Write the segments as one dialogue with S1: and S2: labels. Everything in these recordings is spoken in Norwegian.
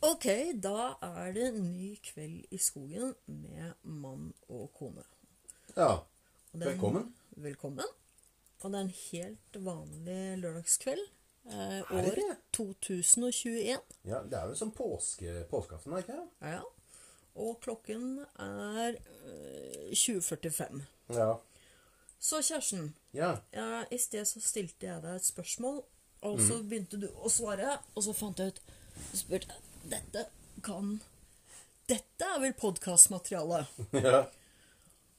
S1: Ok, da er det ny kveld i skogen med mann og kone.
S2: Ja.
S1: Og det er en-
S2: Velkommen.
S1: Velkommen. Og det er en helt vanlig lørdagskveld. Eh,
S2: Er det
S1: år
S2: det?
S1: 2021.
S2: ja. Det er jo som påske, påskeaften, er det ikke?
S1: Ja, ja. Og klokken er eh, 20.45.
S2: det? Ja.
S1: Så Kjersten,
S2: Ja.
S1: ja, i sted så stilte jeg deg et spørsmål, og så
S2: Mhm.
S1: begynte du å svare, og så fant jeg ut Du spurte Dette kan Dette er vel podkastmateriale?
S2: ja.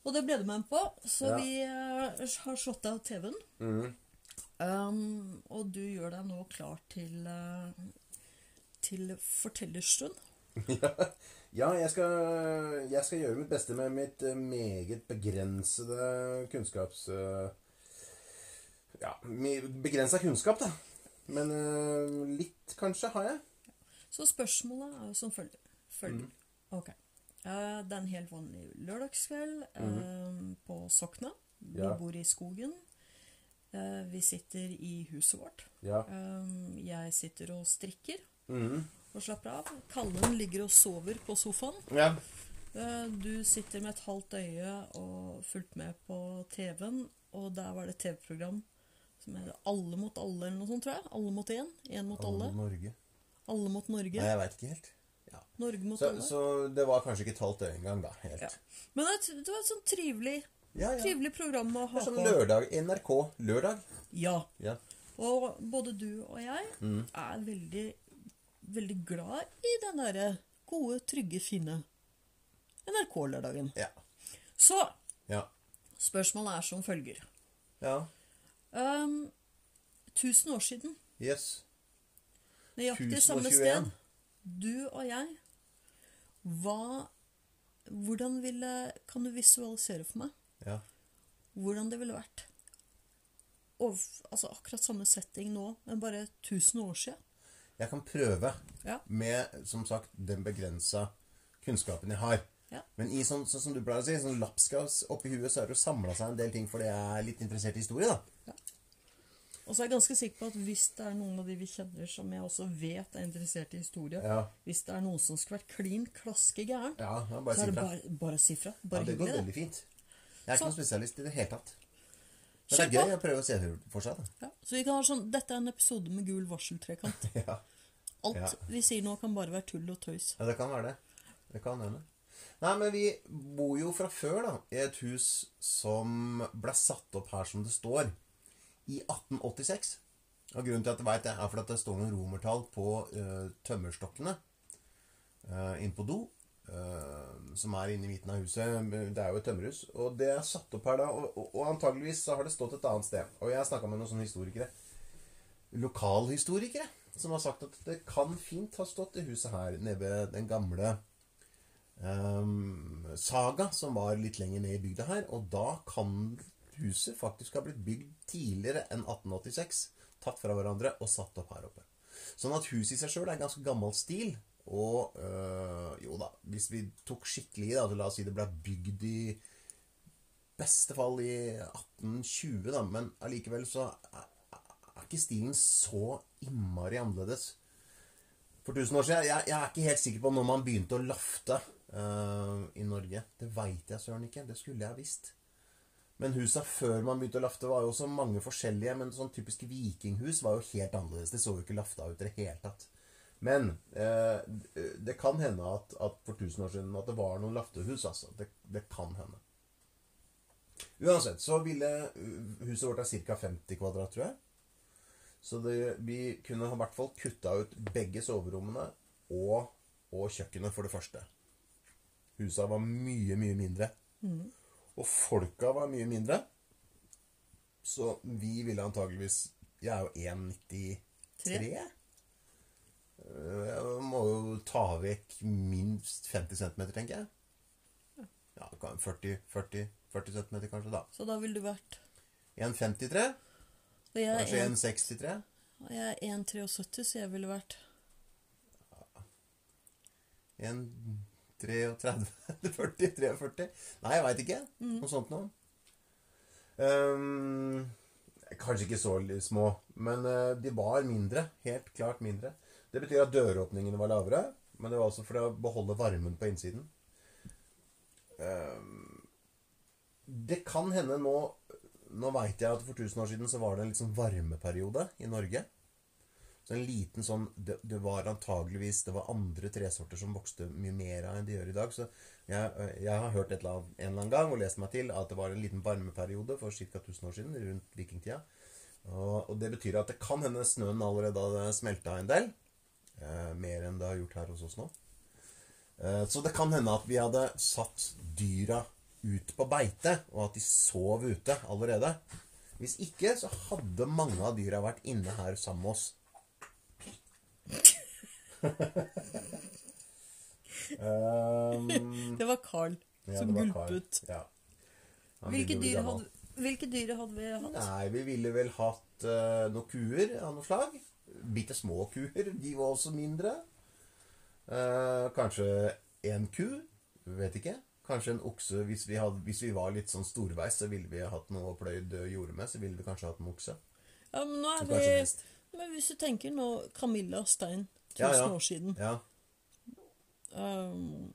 S1: Og det ble du med på, så
S2: Ja. Mm.
S1: vi eh, har slått av TV-en. Um, og du gjør deg nå klar til, eh, til fortellerstund.
S2: Ja, jeg skal, jeg skal gjøre mitt beste med mitt eh, meget begrensede kunnskaps... eh, Ja, begrensa kunnskap, da. Men eh, litt, kanskje, har jeg.
S1: Så spørsmålet er jo som følger. følger.
S2: Mm.
S1: Ok. Eh, det er en helt vanlig lørdagskveld eh, på Sokna. Vi
S2: Mm-hmm. Ja.
S1: bor i skogen. Eh, vi sitter i huset vårt.
S2: Ja.
S1: Eh, jeg sitter og strikker
S2: Mhm.
S1: og slapper av. Kallen ligger og sover på sofaen.
S2: Ja.
S1: Eh, du sitter med et halvt øye og fulgt med på TV-en, og der var det et TV-program som heter Alle mot alle, eller noe sånt, tror jeg. Alle mot én. Én mot alle.
S2: Norge.
S1: Alle mot Norge.
S2: Nei, jeg veit ikke helt. Ja.
S1: Norge mot
S2: Så,
S1: alle.
S2: så det var kanskje ikke et halvt døgn engang, da. Helt.
S1: Ja. Men det, er et- det var et sånn trivelig,
S2: Ja, ja.
S1: trivelig program å
S2: Det
S1: ha
S2: er sånn
S1: på.
S2: lørdag. NRK lørdag.
S1: Ja.
S2: Ja.
S1: Og både du og jeg
S2: Mm.
S1: er veldig, veldig glad i den derre gode, trygge, fine NRK-lørdagen.
S2: Ja.
S1: Så
S2: Ja.
S1: spørsmålet er som følger.
S2: ja.
S1: Ehm, 1000 år siden,
S2: Yes.
S1: nøyaktig
S2: 1021.
S1: samme sted, du og jeg, hva Hvordan ville Kan du visualisere for meg?
S2: Ja.
S1: hvordan det ville vært. Og, f- altså akkurat samme setting nå, men bare 1000 år siden.
S2: Jeg kan prøve
S1: Ja.
S2: med, som sagt, den begrensa kunnskapen jeg har.
S1: Ja.
S2: Men i sånn, sånn som du pleier å si, sånn lapskaus oppi huet, så har det jo samla seg en del ting fordi jeg er litt interessert i historie, da.
S1: Og så er jeg ganske sikker på at hvis det er noen av de vi kjenner som jeg også vet er interessert i historie,
S2: Ja.
S1: hvis det er noen som skulle vært klin klaske gæren,
S2: Ja, ja
S1: så
S2: bare
S1: er
S2: si
S1: det
S2: fra.
S1: bare, bare å si fra.
S2: Ja,
S1: Bare
S2: det går
S1: hyggelig,
S2: veldig fint. Jeg er
S1: Så-
S2: ikke noen spesialist i det hele tatt.
S1: det.
S2: Men det
S1: Kjør
S2: er
S1: på!
S2: gøy å prøve å se det for seg, da.
S1: Ja. Så vi kan ha sånn Dette er en episode med gul varseltrekant.
S2: Ja.
S1: Alt
S2: Ja.
S1: vi sier nå, kan bare være tull og tøys.
S2: ja, det kan være det. Det kan hende. Nei, men vi bor jo fra før, da, i et hus som ble satt opp her som det står, i 1886. Og grunnen til at jeg veit det, er fordi at det står noen romertall på eh, tømmerstokkene uh, inn på do. eh, som er inne i midten av huset. Det er jo et tømmerhus. Og det er satt opp her da, og, og, og antageligvis så har det stått et annet sted. Og jeg snakka med noen sånne historikere lokalhistorikere som har sagt at det kan fint ha stått i huset her nede ved den gamle ehm, Saga, som var litt lenger ned i bygda her. Og da kan huset faktisk ha blitt bygd tidligere enn 1886. Tatt fra hverandre og satt opp her oppe. Sånn at huset i seg sjøl er en ganske gammel stil. Og øh, jo da, hvis vi tok skikkelig i, da, så la oss si det ble bygd i beste fall i 1820, da, men allikevel så er er ikke stilen så innmari annerledes. For 1000 år siden jeg, jeg er ikke helt sikker på når man begynte å lafte eh, i Norge. Det veit jeg søren ikke. Det skulle jeg visst. Men husa før man begynte å lafte, var jo også mange forskjellige. Men sånn typiske vikinghus var jo helt annerledes. Det så jo ikke lafta ut i det hele tatt. Men eh, det kan hende at, at for 1000 år siden at det var noen laftehus, altså. Det, det kan hende. Uansett, så ville uh, huset vårt er ca. 50 kvadrat, tror jeg. Så det, vi kunne i hvert fall kutta ut begge soverommene og, og kjøkkenet, for det første. Husa var mye, mye mindre. Og folka var mye mindre. Så vi ville antageligvis Jeg er jo 1,93.
S1: Tre.
S2: Eh, Jeg må jo ta vekk minst 50 cm, tenker jeg. Ja, 40, 40, 40 cm kanskje, da.
S1: Så da ville du vært
S2: 1,53?
S1: Og jeg er
S2: Kanskje
S1: en-
S2: 1,63?
S1: og jeg er 1,73, så jeg ville vært
S2: 1, 33, 40, 43 Nei, jeg veit ikke. Noe sånt noe. Ehm, kanskje ikke så li- små, men eh, de var mindre. Helt klart mindre. Det betyr at døråpningene var lavere. Men det var også for å beholde varmen på innsiden. Eh, Det kan hende nå Nå veit jeg at for 1000 år siden så var det en litt sånn varmeperiode i Norge. Så en liten sånn Det, det var antageligvis Det var andre tresorter som vokste mye mer av enn de gjør i dag. Så jeg, jeg har hørt et eller annet, en eller annen gang og lest meg til at det var en liten varmeperiode for ca. 1000 år siden, rundt vikingtida. Og, og det betyr at det kan hende snøen allerede hadde smelta en del. Eh, mer enn det har gjort her hos oss nå. Eh, så det kan hende at vi hadde satt dyra ut på beite, og at de sov ute allerede. Hvis ikke, så hadde mange av dyra vært inne her sammen med oss. um,
S1: Det var Carl
S2: ja,
S1: som
S2: det var Carl.
S1: gulpet.
S2: Ja. Han
S1: Hvilke
S2: begynner å bli
S1: dyr,
S2: gammel.
S1: hadde, hvilke dyr hadde vi hatt?
S2: Nei, vi ville vel hatt eh, noen kuer av noe slag. Bitte små kuer. De var også mindre. Eh, kanskje en ku. Vet ikke. Kanskje en okse. Hvis vi, hadde, hvis vi var litt sånn storveis, så ville vi hatt noe å pløye død jord med. Så ville vi kanskje hatt en okse.
S1: Ja, men nå er
S2: Kanskje en hest.
S1: vi Men hvis du tenker nå Camilla Stein, 1000
S2: Ja, ja.
S1: år siden.
S2: Ja.
S1: Um,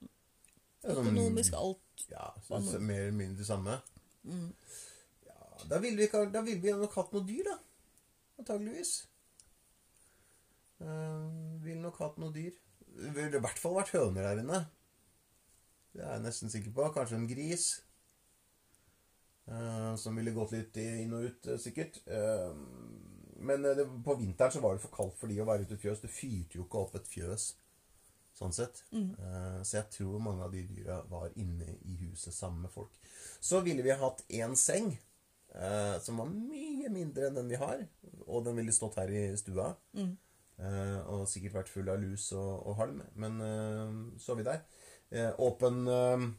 S2: Det er sånn-
S1: økonomisk alt. Mm,
S2: Ja, så, så, mer eller mindre det samme. Ja, da ville vi, ikke ha- da ville vi nok hatt noe dyr, da. Antageligvis. Uh, ville nok hatt noe dyr. Det ville i hvert fall vært høner der inne. Det er jeg nesten sikker på. Kanskje en gris. eh, som ville gått litt i- inn og ut, eh, sikkert. Eh, men eh, det, på vinteren så var det for kaldt for de å være ute i fjøs. Det fyrte jo ikke opp et fjøs sånn sett. Eh, så jeg tror mange av de dyra var inne i huset sammen med folk. Så ville vi hatt én seng, eh, som var mye mindre enn den vi har. Og den ville stått her i stua.
S1: mm,
S2: eh, og sikkert vært full av lus og, og halm. Men eh, så er vi der. Eh, Åpen eh,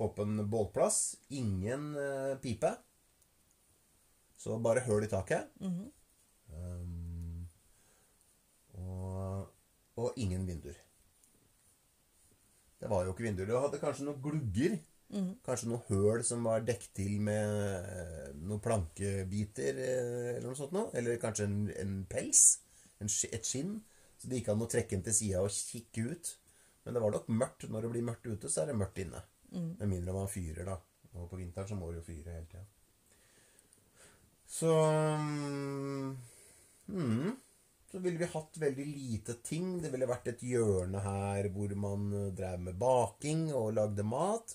S2: åpen bålplass. Ingen eh, pipe. Så bare høl i taket.
S1: mm.
S2: Eh, og, og ingen vinduer. Det var jo ikke vinduer. Du hadde kanskje noen glugger. Kanskje noen høl som var dekket til med eh, noen plankebiter eh, eller noe sånt noe. Eller kanskje en, en pels. En, sk- et skinn. Så det gikk an å trekke den til sida og kikke ut. Men det var nok mørkt. Når det blir mørkt ute, så er det mørkt inne. Med mindre man fyrer, da. Og på vinteren så må du jo fyre hele tida. Så mm, mm. Så ville vi hatt veldig lite ting. Det ville vært et hjørne her hvor man eh, drev med baking og lagde mat.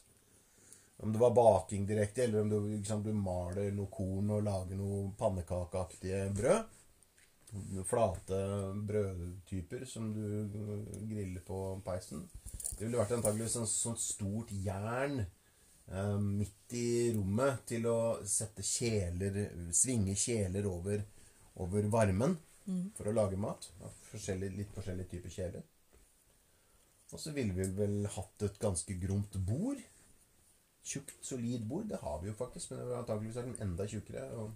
S2: Om det var baking direkte, eller om du, ikke sant, du maler noe korn og lager noe pannekakeaktige brød. Flate brødtyper som du eh, griller på peisen. Det ville vært antageligvis en sånn stort jern eh, midt i rommet til å sette kjeler, svinge kjeler over, over varmen for å lage mat. av Forskjellig, litt forskjellige typer kjeler. Og så ville vi vel hatt et ganske gromt bord. Tjukt, solid bord. Det har vi jo faktisk, men det vil antakeligvis vært enda tjukkere. og...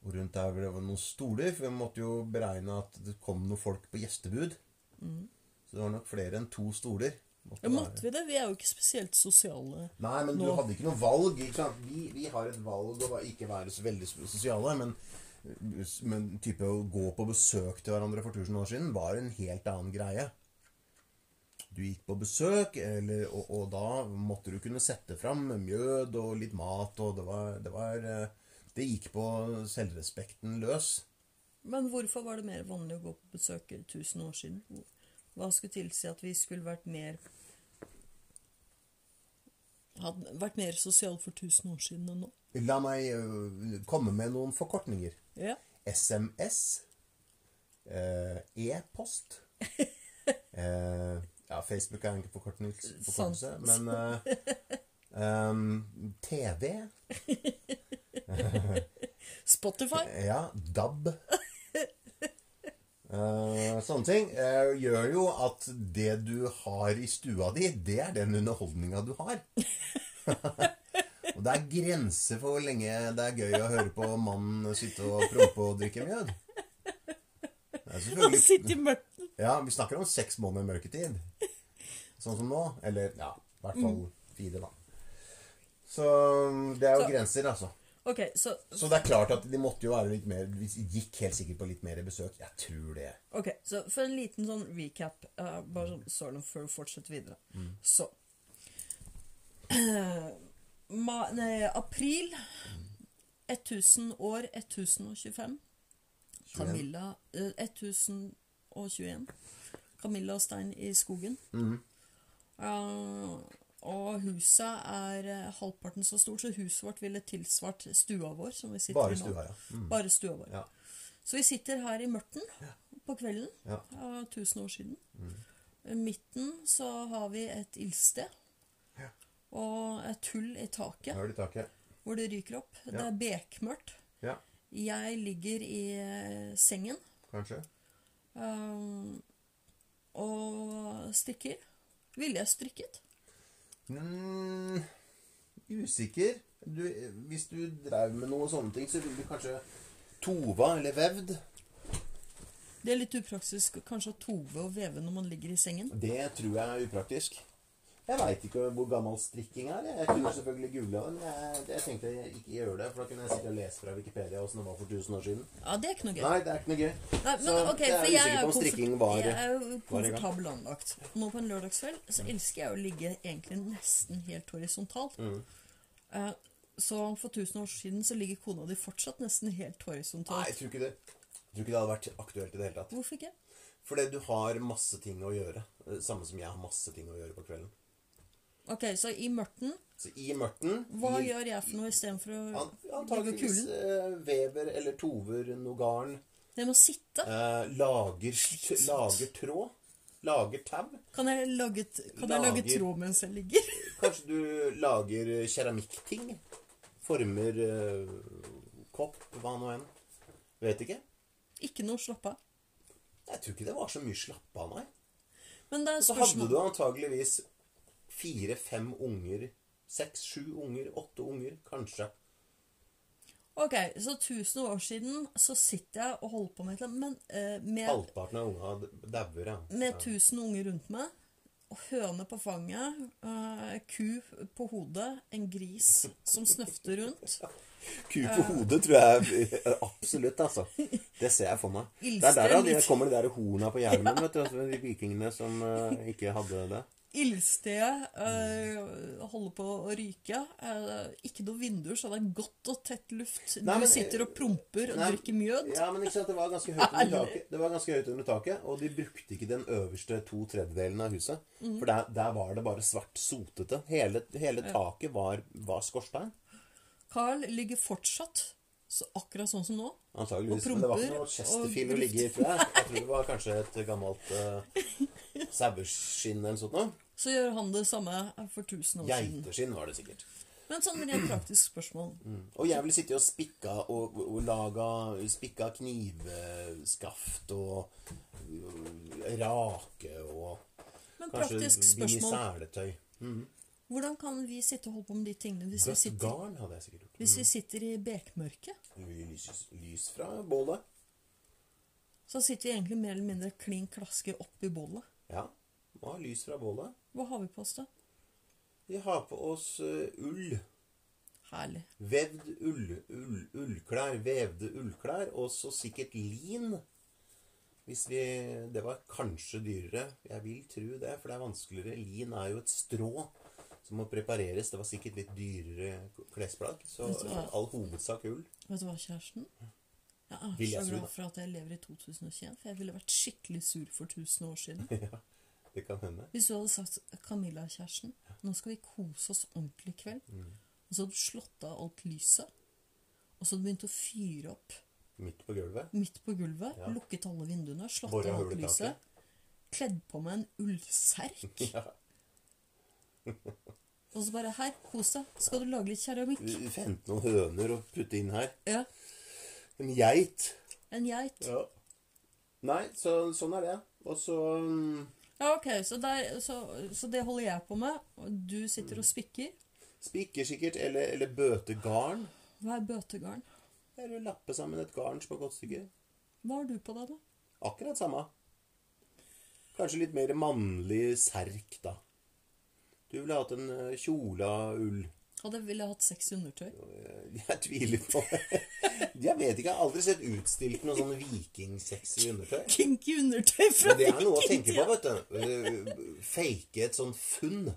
S2: Og rundt der var det noen stoler, for vi måtte jo beregne at det kom noen folk på gjestebud. Så det var nok flere enn to stoler.
S1: Ja,
S2: Måtte
S1: måtte vi Mm.
S2: være.
S1: det? Vi er jo ikke spesielt sosiale.
S2: Nei, men du
S1: Nå.
S2: hadde ikke noe valg. Ikke sant? Vi, vi har et valg å ikke være så veldig sosiale, men, men type å gå på besøk til hverandre for 1000 år siden var en helt annen greie. Du gikk på besøk, eller, og, og da måtte du kunne sette fram mjød og litt mat, og det var Det, var, eh, det gikk på selvrespekten løs.
S1: Men hvorfor var det mer vanlig å gå på besøk 1000 år siden? Hva skulle tilsi at vi skulle vært mer hadde vært mer sosiale for 1000 år siden enn nå?
S2: La meg øh, komme med noen forkortninger.
S1: Ja.
S2: SMS, eh, e-post eh, Ja, Facebook er en forkortelse, forkortelse
S1: Sant.
S2: men eh, em, TV,
S1: Spotify?
S2: ja, DAB Eh, Sånne ting eh, gjør jo at det du har i stua di, det er den underholdninga du har. og det er grenser for hvor lenge det er gøy å høre på mannen sitte og prompe og drikke mjød. Det er
S1: Han
S2: selvfølgelig
S1: sitter i mørket.
S2: Ja, vi snakker om seks måneder mørketid. Sånn som nå. Eller ja, i hvert fall fire, da. Så mm, det er jo
S1: Så-
S2: grenser, altså.
S1: Ok, så,
S2: Så det er klart at de måtte jo være litt mer De gikk helt sikkert på litt mer besøk. Jeg tror det.
S1: ok, så for en liten sånn recap, eh, bare sånn så langt før du fortsetter videre.
S2: Mm.
S1: Så eh, ma, nei, April 1000 år 1025. Camilla eh, 1021. Camilla og Stein i skogen.
S2: Mm-hmm.
S1: Eh, og huset er eh, halvparten så stort, så huset vårt ville tilsvart stua vår. Som vi sitter
S2: Bare
S1: i nå.
S2: stua, ja. Mm.
S1: Bare stua vår.
S2: Ja.
S1: Så vi sitter her i mørten på kvelden
S2: Ja. Mm.
S1: eh, 1000 år siden. I midten så har vi et ildsted
S2: Ja.
S1: og et hull i taket
S2: Høl i taket.
S1: hvor det ryker opp. Det
S2: Ja.
S1: er bekmørkt.
S2: Ja,
S1: Jeg ligger i eh, sengen
S2: kanskje.
S1: eh, og strikker. Ville jeg strikket?
S2: Mm, usikker. Du, hvis du drev med noe sånne ting, så ville du kanskje tova eller vevd.
S1: Det er litt upraktisk kanskje å tove og veve når man ligger i sengen.
S2: Det tror jeg er upraktisk. Jeg veit ikke hvor gammel strikking er. Jeg kunne selvfølgelig googla det, men jeg, jeg tenkte jeg ikke gjør det. For da kunne jeg sitte og lese fra Wikipedia åssen det var for 1000 år siden.
S1: Ja, det er ikke noe gøy.
S2: Nei, det er ikke noe gøy.
S1: Nei, men,
S2: så
S1: ok,
S2: jeg
S1: for
S2: er
S1: jeg
S2: usikker
S1: er
S2: på om
S1: komfort-
S2: strikking var
S1: Jeg er jo
S2: var i gang.
S1: komfortabel anlagt. Nå på en lørdagskveld så elsker jeg å ligge egentlig nesten helt horisontalt.
S2: Mm.
S1: Eh, Så for tusen år siden så ligger kona di fortsatt nesten helt
S2: Nei,
S1: horisontalt.
S2: jeg tror ikke det. Jeg tror ikke det hadde vært aktuelt i det hele tatt.
S1: Hvorfor ikke?
S2: Fordi du har masse ting å gjøre. eh, Samme som jeg har masse ting å gjøre på kvelden.
S1: Ok, så i mørten,
S2: Så i mørten
S1: hva
S2: i,
S1: gjør jeg for noe istedenfor å
S2: an-
S1: ligge i
S2: Antakeligvis
S1: kulen?
S2: eh, vever eller tover noe garn.
S1: Jeg må sitte.
S2: Eh, lager, t lager tråd. Lager tau.
S1: Kan jeg lage, t- kan jeg lage
S2: Lager-
S1: tråd mens jeg ligger?
S2: Kanskje du lager eh, keramikkting. Former eh, kopp, hva nå enn. Vet ikke.
S1: Ikke noe slapp av.
S2: Jeg tror ikke det var så mye slapp av, nei.
S1: Men det er
S2: Så hadde du
S1: spørsmål.
S2: antageligvis fire-fem unger. Seks, sju unger, åtte unger, kanskje.
S1: Ok, så tusen år siden så sitter jeg og holder på med et eller annet, men eh, med
S2: Halvparten av unga d- dauer, ja.
S1: med tusen unger rundt meg, og høne på fanget, eh, ku på hodet, en gris som snøfter rundt.
S2: Ku på hodet tror jeg eh, absolutt, altså. Det ser jeg for meg. Det er der de, kommer de der horna på hjelmen, vet du. altså, De vikingene som eh, ikke hadde det.
S1: Ildstedet eh, holder på å ryke. Eh, ikke noe vinduer, så det er godt og tett luft. Du
S2: Nei, men- eh,
S1: sitter og promper og
S2: Nei,
S1: drikker mjød.
S2: Ja, men ikke sant, det var ganske høyt under
S1: Ærlig.
S2: taket, Det var ganske høyt under taket og de brukte ikke den øverste to tredjedelen av huset.
S1: Mhm.
S2: For der, der var det bare svart sotete. Hele, hele taket var, var skorstein.
S1: Carl ligger fortsatt så akkurat sånn som nå.
S2: Antageligvis.
S1: Og
S2: Men det var ikke
S1: promper
S2: noe Chesterfield
S1: og
S2: å ligge i, tror jeg. Jeg tror det var kanskje et gammelt uh, saueskinn eller noe sånt. noe.
S1: Så gjør han det samme for tusen år siden.
S2: Geiteskinn var det sikkert.
S1: Men sånn rent praktisk spørsmål.
S2: Og jeg ville sitte og spikka og, og laga Spikka knivskaft og øh, rake og
S1: Men
S2: Kanskje
S1: praktisk
S2: binge
S1: spørsmål.
S2: seletøy.
S1: Hvordan kan vi sitte og holde på med de tingene hvis vi
S2: Rødt
S1: sitter
S2: garn hadde jeg sikkert gjort.
S1: Hvis vi sitter i bekmørket,
S2: Lys, lys fra bålet.
S1: så sitter vi egentlig mer eller mindre klin klaske oppi bålet.
S2: Ja, må ha lys fra bålet.
S1: Hva har vi på oss, da?
S2: Vi har på oss eh, ull.
S1: Herlig.
S2: Vevd ull, ull, ullklær. Vevde ullklær. Og så sikkert lin. Hvis vi Det var kanskje dyrere. Jeg vil tro det, for det er vanskeligere. Lin er jo et strå som må prepareres. Det var sikkert litt dyrere klesplagg. Så
S1: Vet du hva?
S2: all hovedsak ull.
S1: Vet du hva, kjæresten?
S2: Vil
S1: Jeg
S2: jeg
S1: er så
S2: tro, da.
S1: glad for at jeg lever i 2021, for jeg ville vært skikkelig sur for 1000 år siden.
S2: ja, det kan hende.
S1: Hvis du hadde sagt Camilla, kjæresten, nå skal vi kose oss ordentlig i kveld,
S2: Mm.
S1: og så hadde du slått av alt lyset, og så hadde du begynt å fyre opp
S2: Midt på gulvet.
S1: midt på gulvet,
S2: Ja.
S1: lukket alle vinduene, slått
S2: Borret
S1: av alt
S2: hull i taket.
S1: lyset, kledd på meg en ullserk,
S2: Ja.
S1: og så bare her, kos deg, skal du lage litt keramikk?
S2: Hente noen høner og putte inn her.
S1: Ja.
S2: En geit.
S1: En geit. Ja,
S2: Ja. Nei, så, sånn er det. Og så mm,
S1: ok, så, der, så, så det holder jeg på med. og Du sitter og spikker.
S2: spiker sikkert, eller, eller bøte garn.
S1: Hva er bøtegarn?
S2: Eller lappe sammen et garn som er godt stykke.
S1: Hva har du på deg, da?
S2: Akkurat samme. Kanskje litt mer mannlig serk, da. Du ville hatt en eh, kjole av ull. Eh,
S1: Hadde ville hatt sexy undertøy.
S2: Jeg tviler på det. Jeg vet ikke, jeg har aldri sett utstilt noe sånn vikingsexy undertøy.
S1: Kinky undertøy fra
S2: Men det er noe å tenke på,
S1: vikingtida.
S2: vet du. Eh, Fake et sånt funn.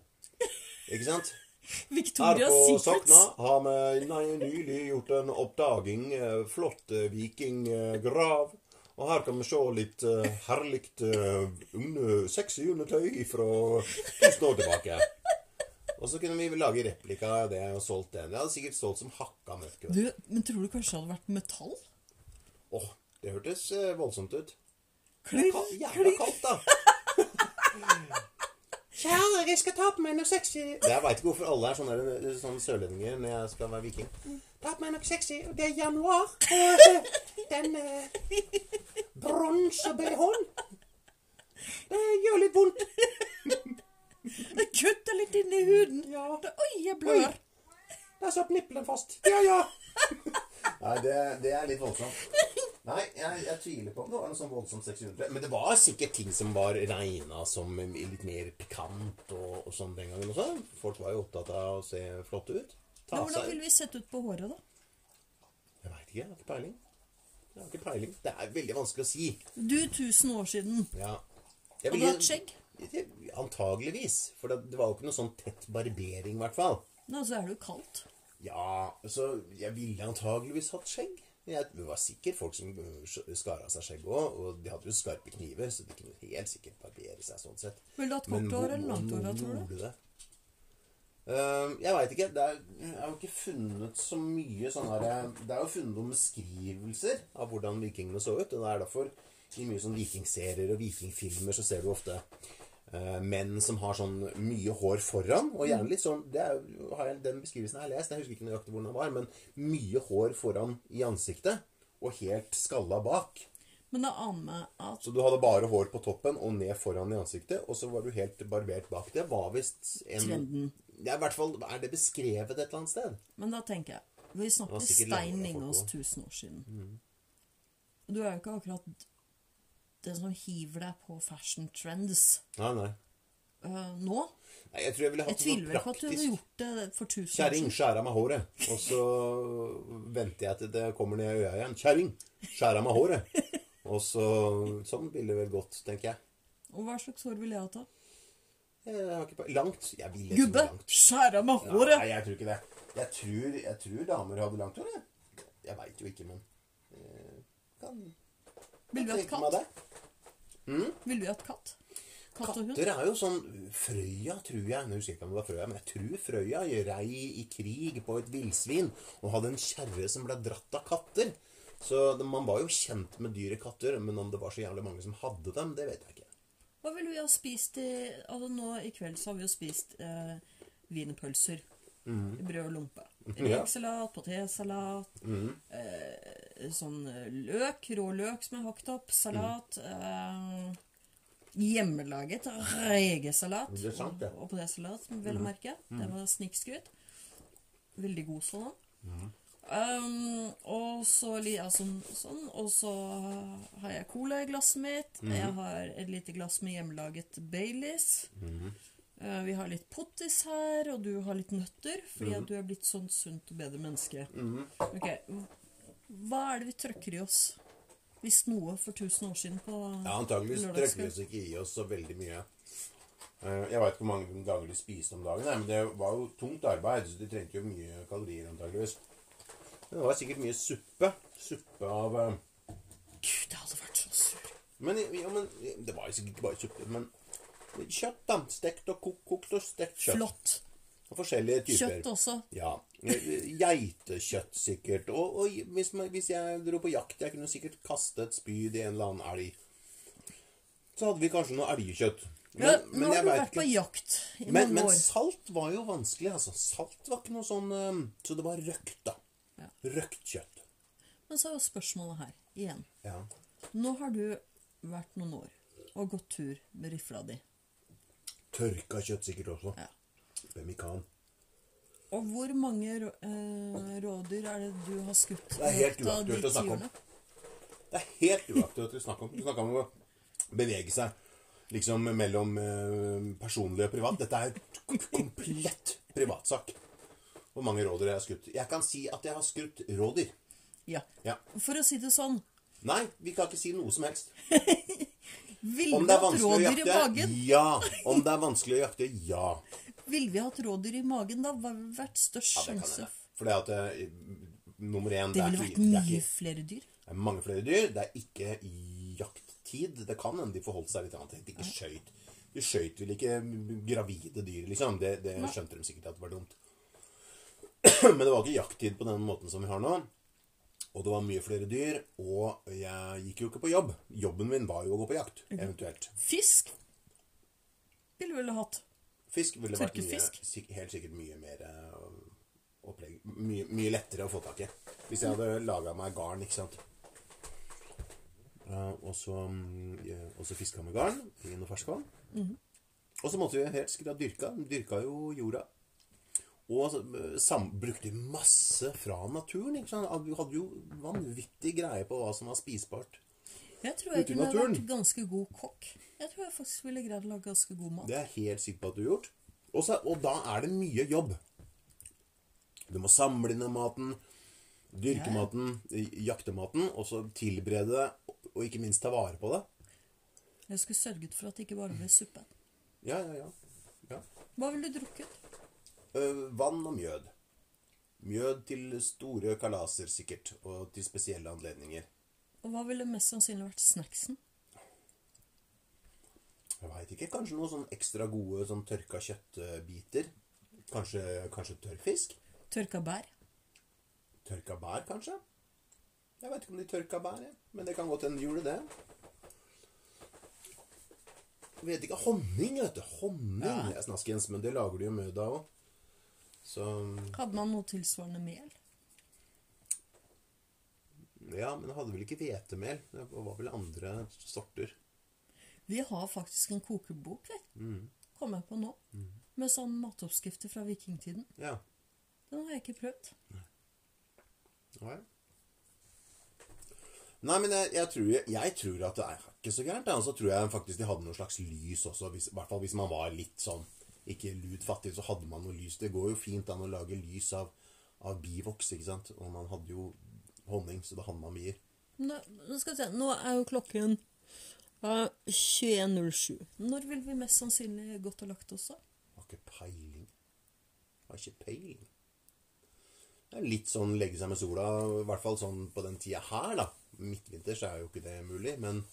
S2: Ikke sant? Her
S1: Victoria
S2: på Sokna
S1: Secrets.
S2: har vi nei- nylig gjort en oppdaging. eh, Flott eh, vikinggrav. Og her kan vi se litt eh, herlig eh, under, sexy undertøy fra tusen år tilbake. Og så kunne vi vel lage replika av det og solgt den. Det hadde sikkert solgt som hakka møkk. vet du.
S1: Du, men tror du kanskje det hadde vært metall?
S2: Åh, det hørtes eh, voldsomt ut.
S1: Klirr,
S2: Ka- Jævla
S1: klirr.
S2: kaldt, da. Kjære, jeg skal ta på meg noe sexy. Jeg veit ikke hvorfor alle er sånne, der- eh, sånne sørlendinger når jeg skal være viking. Mm. Ta på meg noe sexy, og det er januar. Og eh, den eh, bronse-BH-en Det gjør litt vondt.
S1: Det kutter litt inn i huden.
S2: Ja.
S1: Det, oi, jeg blør.
S2: Oi. Der satt nippelen fast. Ja, ja. Nei, det, det er litt voldsomt. Nei, jeg, jeg tviler på om det var noe sånn voldsomt 600. Men det var sikkert ting som var regna som litt mer pikant og, og sånn den gangen også. Folk var jo opptatt av å se flotte ut.
S1: Men
S2: Ta
S1: Hvordan
S2: seg
S1: ville vi sett ut på håret, da?
S2: Jeg veit ikke. Jeg har ikke peiling. Jeg har ikke peiling. Det er veldig vanskelig å si.
S1: Du, 1000 år siden.
S2: Ja.
S1: Hadde
S2: Jeg
S1: du
S2: vil-
S1: hatt skjegg?
S2: Det- Antageligvis. For det, det var jo ikke noe sånn tett barbering, i hvert fall.
S1: Nå, så er det jo kaldt.
S2: Ja, så jeg ville antageligvis hatt skjegg. Jeg, det var sikkert folk som øh, skar av seg skjegg òg, og de hadde jo skarpe kniver, så de kunne helt sikkert barbere seg sånn sett.
S1: Ville du hatt kort
S2: hvor-
S1: hår eller langt
S2: hvor-
S1: hår, da,
S2: hvor
S1: tror du?
S2: gjorde det? Ehm, jeg veit ikke. Det er, jeg har jo ikke funnet så mye sånn her Det er jo funnet noen beskrivelser av hvordan vikingene så ut. Og det er derfor i mye sånn vikingserier og vikingfilmer så ser du ofte eh, menn som har sånn mye hår foran. Og gjerne litt sånn det er, jo- har jeg, Den beskrivelsen jeg har lest, jeg husker ikke nøyaktig hvordan den var, men mye hår foran i ansiktet og helt skalla bak.
S1: Men det aner meg at
S2: Så du hadde bare hår på toppen og ned foran i ansiktet, og så var du helt barbert bak. Det var visst en
S1: Trenden.
S2: Ja, i hvert fall er det beskrevet et eller annet sted.
S1: Men da tenker jeg Vi
S2: Det
S1: snakker
S2: var sikkert Mm.
S1: Stein
S2: langhåra folk
S1: Ingås
S2: også.
S1: 1000 år siden. Du er jo ikke akkurat den som hiver deg på fashion trends
S2: Nei, nei.
S1: øh, nå.
S2: nei jeg tror jeg ville
S1: Jeg
S2: hatt
S1: tviler
S2: noe
S1: vel på at du hadde
S2: praktisk.
S1: gjort det for 1000 år
S2: Kjerring,
S1: siden.
S2: skjær av meg håret. Og så venter jeg til det kommer ned i øya igjen. Kjerring, skjær av meg håret. Og så Sånn ville det vel gått, tenker jeg.
S1: Og hva slags hår ville jeg hatt da?
S2: Jeg har ikke pe- Langt? Jeg ville ikke
S1: Gubbe,
S2: langt.
S1: skjær av meg håret!
S2: Nei, jeg tror ikke det. Jeg tror, jeg tror damer hadde langt hår. jeg. Jeg veit jo ikke, men eh, kan
S1: Ville vi hatt
S2: tenke meg
S1: katt?
S2: det.
S1: Ville vi hatt katt? Katt og hund?
S2: Katter er jo sånn Frøya, tror jeg. Nå husker jeg ikke om det var Frøya, men jeg tror Frøya rei i krig på et villsvin og hadde en kjerre som ble dratt av katter. Så det- man var jo kjent med dyre katter, men om det var så jævlig mange som hadde dem, det vet jeg ikke.
S1: Hva ville vi ha spist i Altså nå i kveld så har vi jo spist eh, wienerpølser. i Brød og lompe.
S2: Ja.
S1: Rekesalat, potetsalat, eh, sånn eh, løk, rå løk som er hakket opp, salat eh, Hjemmelaget regesalat
S2: Det er sant, Mm. det.
S1: og potetsalat, vel å merke. Det var snikskryt. Veldig god sånn.
S2: Mm.
S1: Um, og så li- ja, sånn, sånn, og så har jeg cola i glasset mitt.
S2: Mm.
S1: Jeg har et lite glass med hjemmelaget Baileys.
S2: Mm.
S1: Eh, vi har litt pottis her, og du har litt nøtter, fordi
S2: Mm.
S1: at du er blitt sånn sunt og bedre menneske. Ok, Hva er det vi trøkker i oss, hvis noe, for 1000 år siden på
S2: Ja, Antakeligvis
S1: lørdagskveld?
S2: trøkker vi oss ikke i oss så veldig mye. Eh, Jeg veit ikke hvor mange dager de spiste om dagen, nei, men det var jo tungt arbeid, så de trengte jo mye kalorier antakeligvis. Men det var sikkert mye suppe. Suppe av eh,
S1: Gud, jeg hadde vært så sur.
S2: Men, ja, men det var jo sikkert ikke bare suppe, men kjøtt, da. Stekt og kokt, kokt og stekt kjøtt.
S1: Flott.
S2: Og forskjellige typer.
S1: Kjøtt også.
S2: Ja. Geitekjøtt, sikkert. Og, og hvis, man, hvis jeg dro på jakt, jeg kunne sikkert kaste et spyd i en eller annen elg. Så hadde vi kanskje noe elgkjøtt. Men,
S1: Ja, nå
S2: men
S1: har
S2: jeg
S1: du
S2: vet
S1: vært på
S2: ikke.
S1: jakt i
S2: Men,
S1: mange
S2: men
S1: år.
S2: salt var jo vanskelig, altså. Salt var ikke noe sånn eh, Så det var røkt, da.
S1: Ja.
S2: Røkt kjøtt.
S1: Men så er jo spørsmålet her, igjen.
S2: Ja.
S1: Nå har du vært noen år og gått tur med rifla di.
S2: Tørka kjøtt sikkert også.
S1: Ja.
S2: Pemmikan.
S1: Og hvor mange rå- eh, rådyr er det du har skutt?
S2: Det er helt
S1: i løpet av de
S2: uaktuelt å snakke om.
S1: tiårene?
S2: Det er helt uaktuelt å snakke om. Du snakker om å bevege seg liksom mellom eh, personlig og privat. Dette er komplett privatsak. hvor mange rådyr jeg har skutt. Jeg kan si at jeg har skutt rådyr.
S1: Ja.
S2: Ja.
S1: For å si det sånn
S2: Nei, vi kan ikke si noe som helst.
S1: Ville
S2: Om
S1: vi
S2: det er
S1: hatt
S2: vanskelig å
S1: rådyr i
S2: jakte?
S1: magen?
S2: Ja. Om det er vanskelig å jakte? Ja.
S1: Ville vi hatt rådyr i magen, da var det vært størst
S2: ja det kan
S1: sjanse.
S2: hende. Fordi at eh, nummer én
S1: Det
S2: er
S1: ville
S2: ikke-
S1: vært
S2: det er
S1: mye
S2: ikke-
S1: flere dyr.
S2: Det er mange flere dyr. Det er ikke jakttid. Det kan hende de forholdt seg litt annet. De ikke skjøt. De skjøt vel ikke gravide dyr, liksom. Det, det
S1: Nei.
S2: skjønte de sikkert at det var dumt. Men det var ikke jakttid på den måten som vi har nå. Og det var mye flere dyr, og jeg gikk jo ikke på jobb. Jobben min var jo å gå på jakt, eventuelt.
S1: Fisk ville vi vel hatt.
S2: Fisk ville vært mye,
S1: Tørkefisk?
S2: sik helt sikkert mye mer eh, opplegg. Mye, mye lettere å få tak i. Hvis jeg hadde laga meg garn, ikke sant. Eh, og så, mm, eh, og så fiska med garn i noe ferskvann. Og så måtte vi helt sikkert ha dyrka. Dyrka jo jorda. Og så, eh, sam brukte masse fra naturen. Ikke sant? Hadde- Vi hadde jo vanvittig greie på hva som var spisbart.
S1: Jeg tror jeg
S2: Ute i
S1: kunne
S2: naturen.
S1: vært ganske god kokk. Jeg tror jeg faktisk ville greid å lage ganske god mat.
S2: Det er jeg helt sikker på at du har gjort. Og, så, og da er det mye jobb. Du må samle inn den maten, dyrke
S1: Ja, ja.
S2: maten, i- jakte maten, og så tilberede det, og ikke minst ta vare på det.
S1: Jeg skulle sørget for at det ikke bare ble suppe.
S2: Ja, ja, ja. ja.
S1: Hva ville du drukket?
S2: Eh, vann og mjød. Mjød til store kalaser, sikkert, og til spesielle anledninger.
S1: Og hva ville mest sannsynlig vært snacksen?
S2: Jeg veit ikke. Kanskje noen sånn ekstra gode sånn tørka kjøttbiter. Kanskje, kanskje tørrfisk?
S1: Tørka bær?
S2: Tørka bær, kanskje? Jeg vet ikke om de tørka bær, jeg. men det kan godt hende de gjorde det. Jeg vet ikke. Honning, vet du. Honning
S1: Ja.
S2: er snaskens, men det lager de jo mødd av òg. Så
S1: Hadde man noe tilsvarende mel?
S2: Ja, men jeg hadde vel ikke hvetemel. Det var vel andre sorter.
S1: Vi har faktisk en kokebok, vet du.
S2: Mm.
S1: Kom jeg på nå. Med sånn matoppskrifter fra vikingtiden.
S2: Ja.
S1: Den har jeg ikke prøvd.
S2: Ja. Nei, men jeg, jeg, tror, jeg tror at det er ikke så gærent. da. Og så tror jeg faktisk de hadde noe slags lys også. Hvis, I hvert fall hvis man var litt sånn ikke lut fattig, så hadde man noe lys. Det går jo fint an å lage lys av, av bivoks, ikke sant. Og man hadde jo honning, så da hadde man bier.
S1: Nå, nå skal vi se. Nå er jo klokken eh, 21.07. Når vil vi mest sannsynlig gått og lagt oss, da?
S2: Har ikke peiling. Har ikke peiling. Det er litt sånn legge seg med sola, i hvert fall sånn på den tida her, da. Midtvinters er jo ikke det mulig, men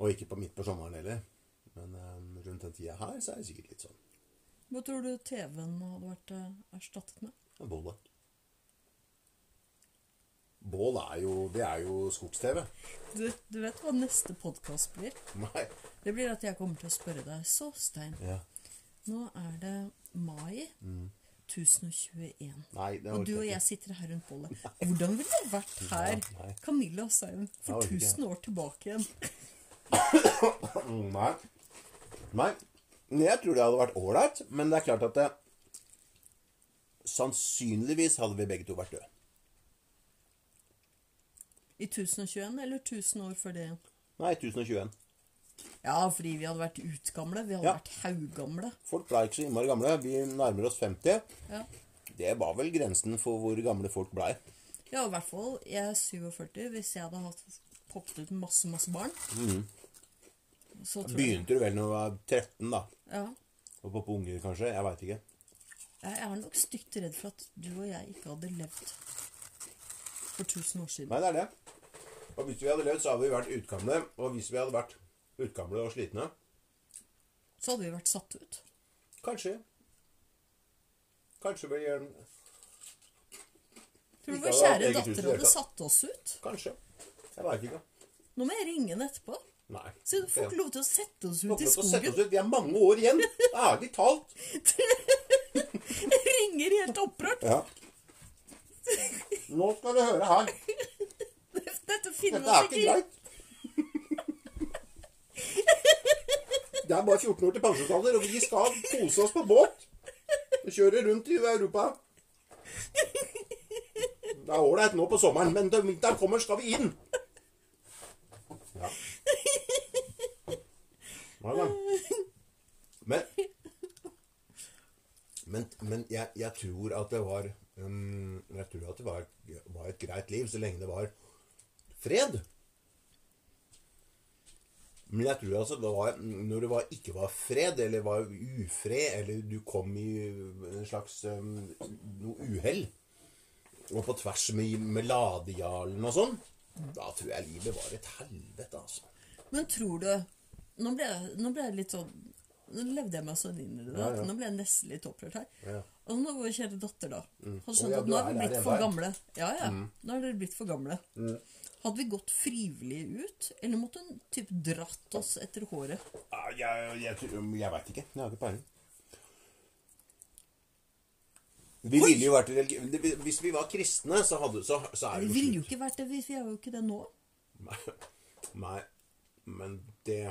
S2: Og ikke på midt på sommeren heller. Men eh, rundt den tida her så er det sikkert litt sånn.
S1: Hva tror du TV-en hadde vært eh, erstattet med?
S2: En bål, da. Bål er jo Det er jo skogs-TV.
S1: Du, du vet hva neste podkast blir?
S2: Nei.
S1: Det blir at jeg kommer til å spørre deg. Så, Stein,
S2: Ja.
S1: nå er det mai
S2: Mm.
S1: 1021.
S2: Nei, det
S1: Og
S2: orker
S1: du og
S2: ikke.
S1: jeg sitter her rundt bålet. Hvordan ville det vært
S2: Nei.
S1: her, Camilla og Stein, for
S2: Jeg orker ikke.
S1: 1000 år tilbake igjen?
S2: Mm, Nei. Nei. Men Jeg tror det hadde vært ålreit, men det er klart at det, Sannsynligvis hadde vi begge to vært døde.
S1: I 1021, eller 1000 år før det igjen?
S2: Nei, 1021.
S1: Ja, fordi vi hadde vært utgamle. Vi hadde
S2: Ja.
S1: vært haugamle.
S2: Folk blei ikke så innmari gamle. Vi nærmer oss 50.
S1: Ja.
S2: Det var vel grensen for hvor gamle folk blei.
S1: ja, i hvert fall. Jeg er 47. Hvis jeg hadde hatt poppet ut masse, masse barn
S2: Mm.
S1: Så tror jeg
S2: Begynte du vel når du var 13, da?
S1: Ja.
S2: Og på unger, kanskje? Jeg veit ikke.
S1: Jeg er nok stygt redd for at du og jeg ikke hadde levd for 1000 år siden.
S2: Nei, det er det. Og hvis vi hadde levd, så hadde vi vært utgamle. Og hvis vi hadde vært utgamle og slitne
S1: Så hadde vi vært satt ut.
S2: Kanskje. Kanskje vi gjør
S1: Tror
S2: Ikke
S1: du vår
S2: hadde hatt
S1: kjære
S2: eget hus i det
S1: datter
S2: hele
S1: hadde
S2: tatt.
S1: satt oss ut?
S2: Kanskje. Jeg veit ikke.
S1: Nå må jeg ringe henne etterpå.
S2: Nei.
S1: Så du får ikke lov til å sette oss ut i
S2: Å sette oss
S1: skogen.
S2: ut. Vi er mange år igjen. Ærlig talt.
S1: Jeg ringer helt opprørt.
S2: Ja. Nå skal du høre her.
S1: Dette finner
S2: Dette er
S1: vi
S2: ikke
S1: ikke i.
S2: greit. Det er bare 14 år til pensjonsalder, og vi skal kose oss på båt. Og kjøre rundt i Europa. Det er ålreit nå på sommeren, men når vinteren kommer, skal vi inn. Ja. Nei da. Men Men, men jeg, jeg tror at det var um, Jeg tror at det var, var et greit liv så lenge det var fred. Men jeg tror altså det var, når det var, ikke var fred, eller var ufred, eller du kom i en slags um, noe uhell, og på tvers med, med ladejarlen og sånn, da tror jeg livet var et helvete, altså.
S1: Men tror du Nå ble jeg, nå ble jeg litt sånn Nå levde jeg meg sånn inn i det.
S2: Ja,
S1: at
S2: ja.
S1: Nå ble jeg nesten litt opprørt her.
S2: Ja. Mm.
S1: Og nå vår kjære datter, da. Har skjønt
S2: Å, ja,
S1: at
S2: du
S1: nå
S2: er Mm.
S1: er vi
S2: der
S1: blitt
S2: ennå,
S1: for
S2: ja.
S1: gamle. Ja, ja. Nå er dere blitt for gamle. Hadde vi gått frivillig ut, eller måtte hun typ dratt oss etter håret?
S2: Ah, Jeg, jeg, tror- jeg veit ikke. Jeg har ikke peiling. Vi
S1: Oi!
S2: ville jo vært religi- det- Hvis vi var kristne, så, hadde, så, så er
S1: Vi
S2: det
S1: ville jo
S2: slutt.
S1: ikke vært det. Vi, vi er jo ikke det nå.
S2: Nei. Nei, men det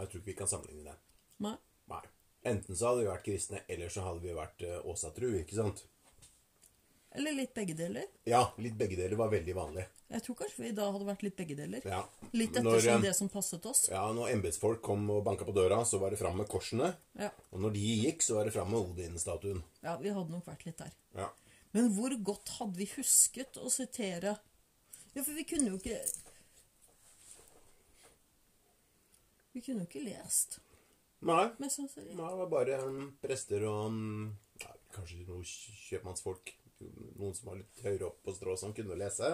S2: Jeg tror ikke vi kan sammenligne det.
S1: Nei.
S2: Nei. Enten så hadde vi vært kristne, eller så hadde vi vært eh, åsatru, ikke sant?
S1: Eller litt begge deler.
S2: Ja, litt begge deler var veldig vanlig.
S1: Jeg tror kanskje vi da hadde vært litt begge deler.
S2: Ja.
S1: Litt
S2: Når,
S1: ettersom
S2: eh,
S1: det som passet oss.
S2: Ja, når embetsfolk kom og banka på døra, så var det fram med korsene.
S1: Ja.
S2: Og når de gikk, så var det fram med Odin-statuen.
S1: ja, vi hadde nok vært litt der.
S2: Ja.
S1: Men hvor godt hadde vi husket å sitere Ja, for vi kunne jo ikke Vi kunne jo ikke lest,
S2: Nei.
S1: mest sannsynlig.
S2: Nei, det var bare um, prester og um, ja, kanskje noen kj- kjøpmannsfolk. Noen som var litt høyere opp på strå, som kunne lese.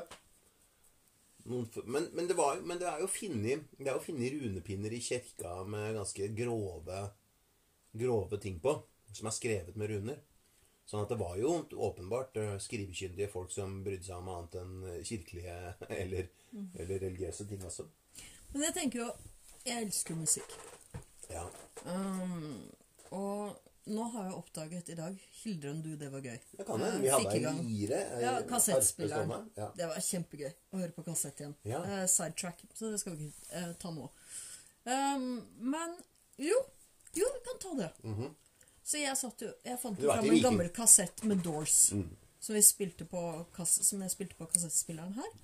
S2: Noen, f- men, men, det var, jo- men det er jo funnet det er jo funnet runepinner i kirka med ganske grove, grove ting på, som er skrevet med runer. Sånn at det var jo åpenbart eh, skrivekyndige folk som brydde seg om annet enn eh, kirkelige eller, eller religiøse ting også.
S1: Men jeg tenker jo Jeg elsker musikk.
S2: Ja.
S1: Um, og nå har jeg oppdaget i dag Hildrun, du, det var gøy.
S2: Det kan hende.
S1: Jeg fikk
S2: Vi hadde
S1: i
S2: ei
S1: gang.
S2: lire. ei
S1: Ja,
S2: harpe
S1: kassettspilleren.
S2: stående. Ja.
S1: Det var kjempegøy å høre på kassett igjen.
S2: Ja.
S1: Eh, sidetrack, så det skal vi ikke eh, ta nå. Um, men jo, jo, vi kan ta det. Så jeg, satt jo, jeg fant
S2: Mhm. Du er
S1: fram
S2: ikke
S1: en
S2: viking. Mm.
S1: gammel kassett med Doors. Som, vi spilte på, kass- som jeg spilte på kassettspilleren her.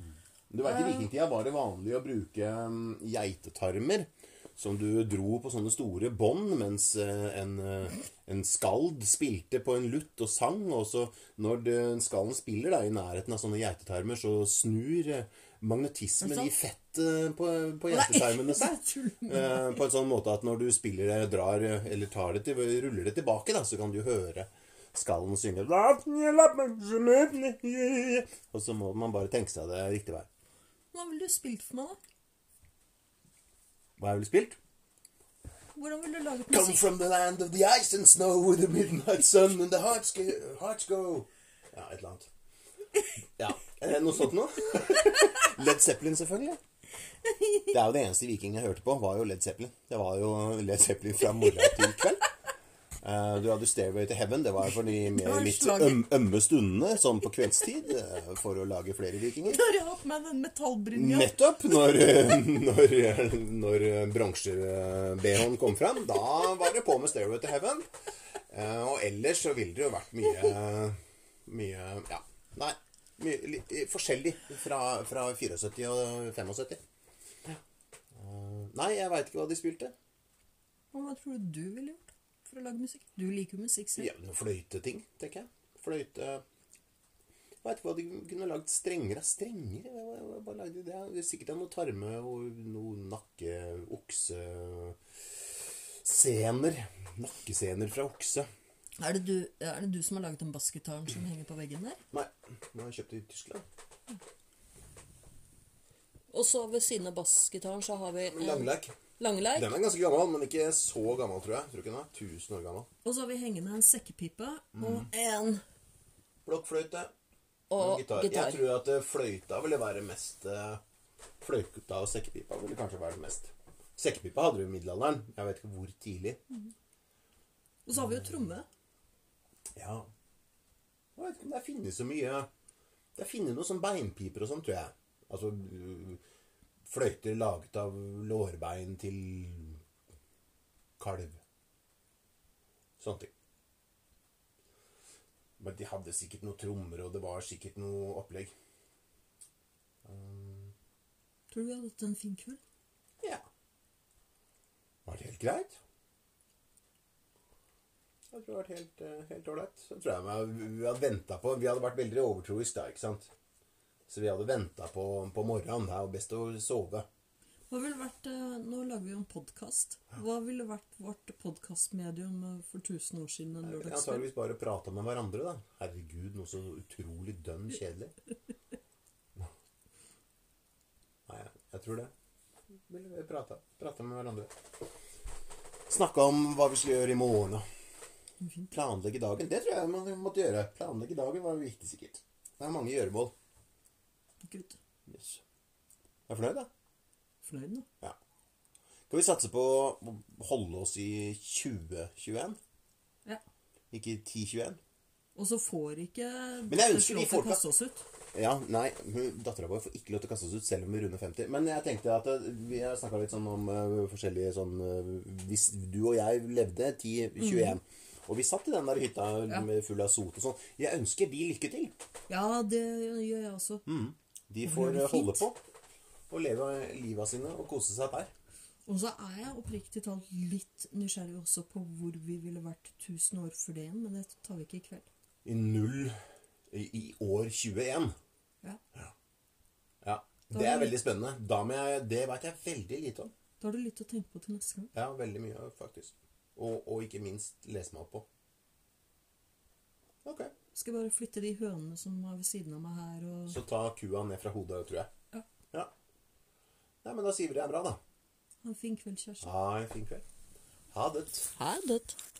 S2: Du vet, I vikingtida var det vanlig å bruke mm, geitetarmer som du dro på sånne store bånd mens eh, en, eh, en skald spilte på en lutt og sang. Og så når det- skallen spiller da, i nærheten av sånne geitetarmer, så snur eh,
S1: Er det
S2: magnetismen
S1: sant?
S2: i fettet på, på
S1: Nei,
S2: geitetarmene seg.
S1: jeg tuller med
S2: Eh, på en sånn måte at når du spiller det, drar eh, eller tar det til, ruller det tilbake, da, så kan du høre skallen synge Og så må man bare tenke seg det riktig vei.
S1: Hva ville du spilt for meg, da?
S2: Hva har jeg vel spilt?
S1: Hvordan ville du laget
S2: Come
S1: musikk?
S2: from the land of the ice and snow with the midnight sun and the hearts go, hearts go. Ja, et eller annet. Ja, er det Noe sånt noe? Led Zeppelin, selvfølgelig. Det er jo det eneste viking jeg hørte på, var jo Led Zeppelin. Det var jo Led Zeppelin fra morgen til kveld. Eh, du hadde 'Stairway to Heaven'. Det var for de
S1: var
S2: med litt
S1: slaget.
S2: øm, ømme stundene, sånn på kveldstid, eh, for å lage flere vikinger.
S1: Når jeg har på meg den metallbrynja.
S2: Nettopp når, når, når bransjer-BH-en kom fram, da var det på med Stairway to Heaven. Eh, Og ellers så ville det jo vært mye Mye Ja. Nei. Mye, litt, eh, forskjellig fra, fra 74 og 75. Eh, Nei, jeg veit ikke hva de spilte.
S1: Hva tror du du ville gjort for å lage musikk? Du liker jo musikk selv.
S2: Ja, noen fløyteting, tenker jeg. Fløyte Jeg vet ikke hva de kunne lagd strengere. Strenger? Hva- hva- hva- Hva lagde de det? Det er sikkert av noe tarme og noe nakke... Okse... Sener. Nakkesener fra okse.
S1: Er, det du, er det du som har laget den bassgitaren som henger på veggen der?
S2: Nei, den har jeg kjøpt i Tyskland.
S1: Og så ved siden av bassgitaren så har vi eh,
S2: Langleik.
S1: langleik.
S2: Den er ganske gammel, men ikke så gammel, tror jeg. Tror ikke den er 1000 år gammel.
S1: Og så har vi hengende en sekkepipe
S2: Mm.
S1: og en
S2: Blokkfløyte
S1: og
S2: gitar.
S1: gitar.
S2: Jeg tror at eh, fløyta ville være mest eh, Fløyta og sekkepipa ville kanskje være det mest. Sekkepipa hadde du i middelalderen. Jeg vet ikke hvor tidlig.
S1: Og så har vi jo tromme.
S2: Ja. Jeg vet ikke om det finnes så mye Det finnes noe sånn beinpiper og sånn, tror jeg. Altså øh, fløyter laget av lårbein til kalv. Sånne ting. Men de hadde sikkert noen trommer, og det var sikkert noe opplegg. Um,
S1: Tror du vi hadde hatt en fin kveld?
S2: Ja. Var det helt greit? Jeg tror det har vært helt, eh, helt ålreit. Så tror jeg meg- vi hadde ventet på Vi hadde vært veldig overtroisk da, ikke sant? Så vi hadde venta på, på morgenen. Det er jo best å sove.
S1: Hva ville vært, eh, Nå lager vi jo en podkast. Hva ville vært vårt podkastmedium for 1000 år siden? en lørdagskveld?
S2: Antakeligvis bare prata med hverandre, da. Herregud, noe så utrolig dønn kjedelig. Nei, jeg tror det. Ville prata med hverandre. Snakke om hva vi skulle gjøre i morgen. og Planlegge dagen. Det tror jeg man måtte gjøre. Planlegge dagen var viktig, sikkert. Det er mange gjøremål.
S1: Gud,
S2: Yes. Er du fornøyd, da?
S1: fornøyd nå?
S2: Ja. Skal vi satse på å holde oss i 2021?
S1: Ja.
S2: Ikke 1021?
S1: Og så får ikke
S2: Men jeg
S1: dette
S2: ønsker de
S1: slottet
S2: folka-
S1: kaste oss ut.
S2: Ja, nei, hun- dattera vår får ikke lov til å kaste oss ut selv om vi runder 50. Men jeg tenkte at eh, vi har snakka litt sånn om eh, forskjellige sånn eh, Hvis du og jeg levde 10-21, og vi satt i den der hytta med full av sot og sånn Jeg ønsker de lykke til.
S1: Ja, det gjør jeg også.
S2: Mm. De
S1: Det
S2: får
S1: blir
S2: eh, holde på
S1: fint.
S2: og leve livet sine og kose seg der.
S1: Og så er jeg oppriktig talt litt nysgjerrig også på hvor vi ville vært 1000 år før det igjen, men det tar vi ikke i kveld.
S2: I null i, i år 21.
S1: Ja.
S2: Ja. Det er veldig spennende. Da må jeg, det veit jeg veldig lite om.
S1: Da har du litt å tenke på til neste gang.
S2: Ja, veldig mye, faktisk. Og, og ikke minst lese meg opp på. Ok.
S1: Skal bare flytte de hønene som er ved siden av meg her, og
S2: Så ta kua ned fra hodet, tror jeg.
S1: Ja.
S2: Ja. Nei, men da sier vi det er bra, da.
S1: ha en fin kveld, kjæreste.
S2: Ha en fin kveld. Ha det.
S1: Ha det.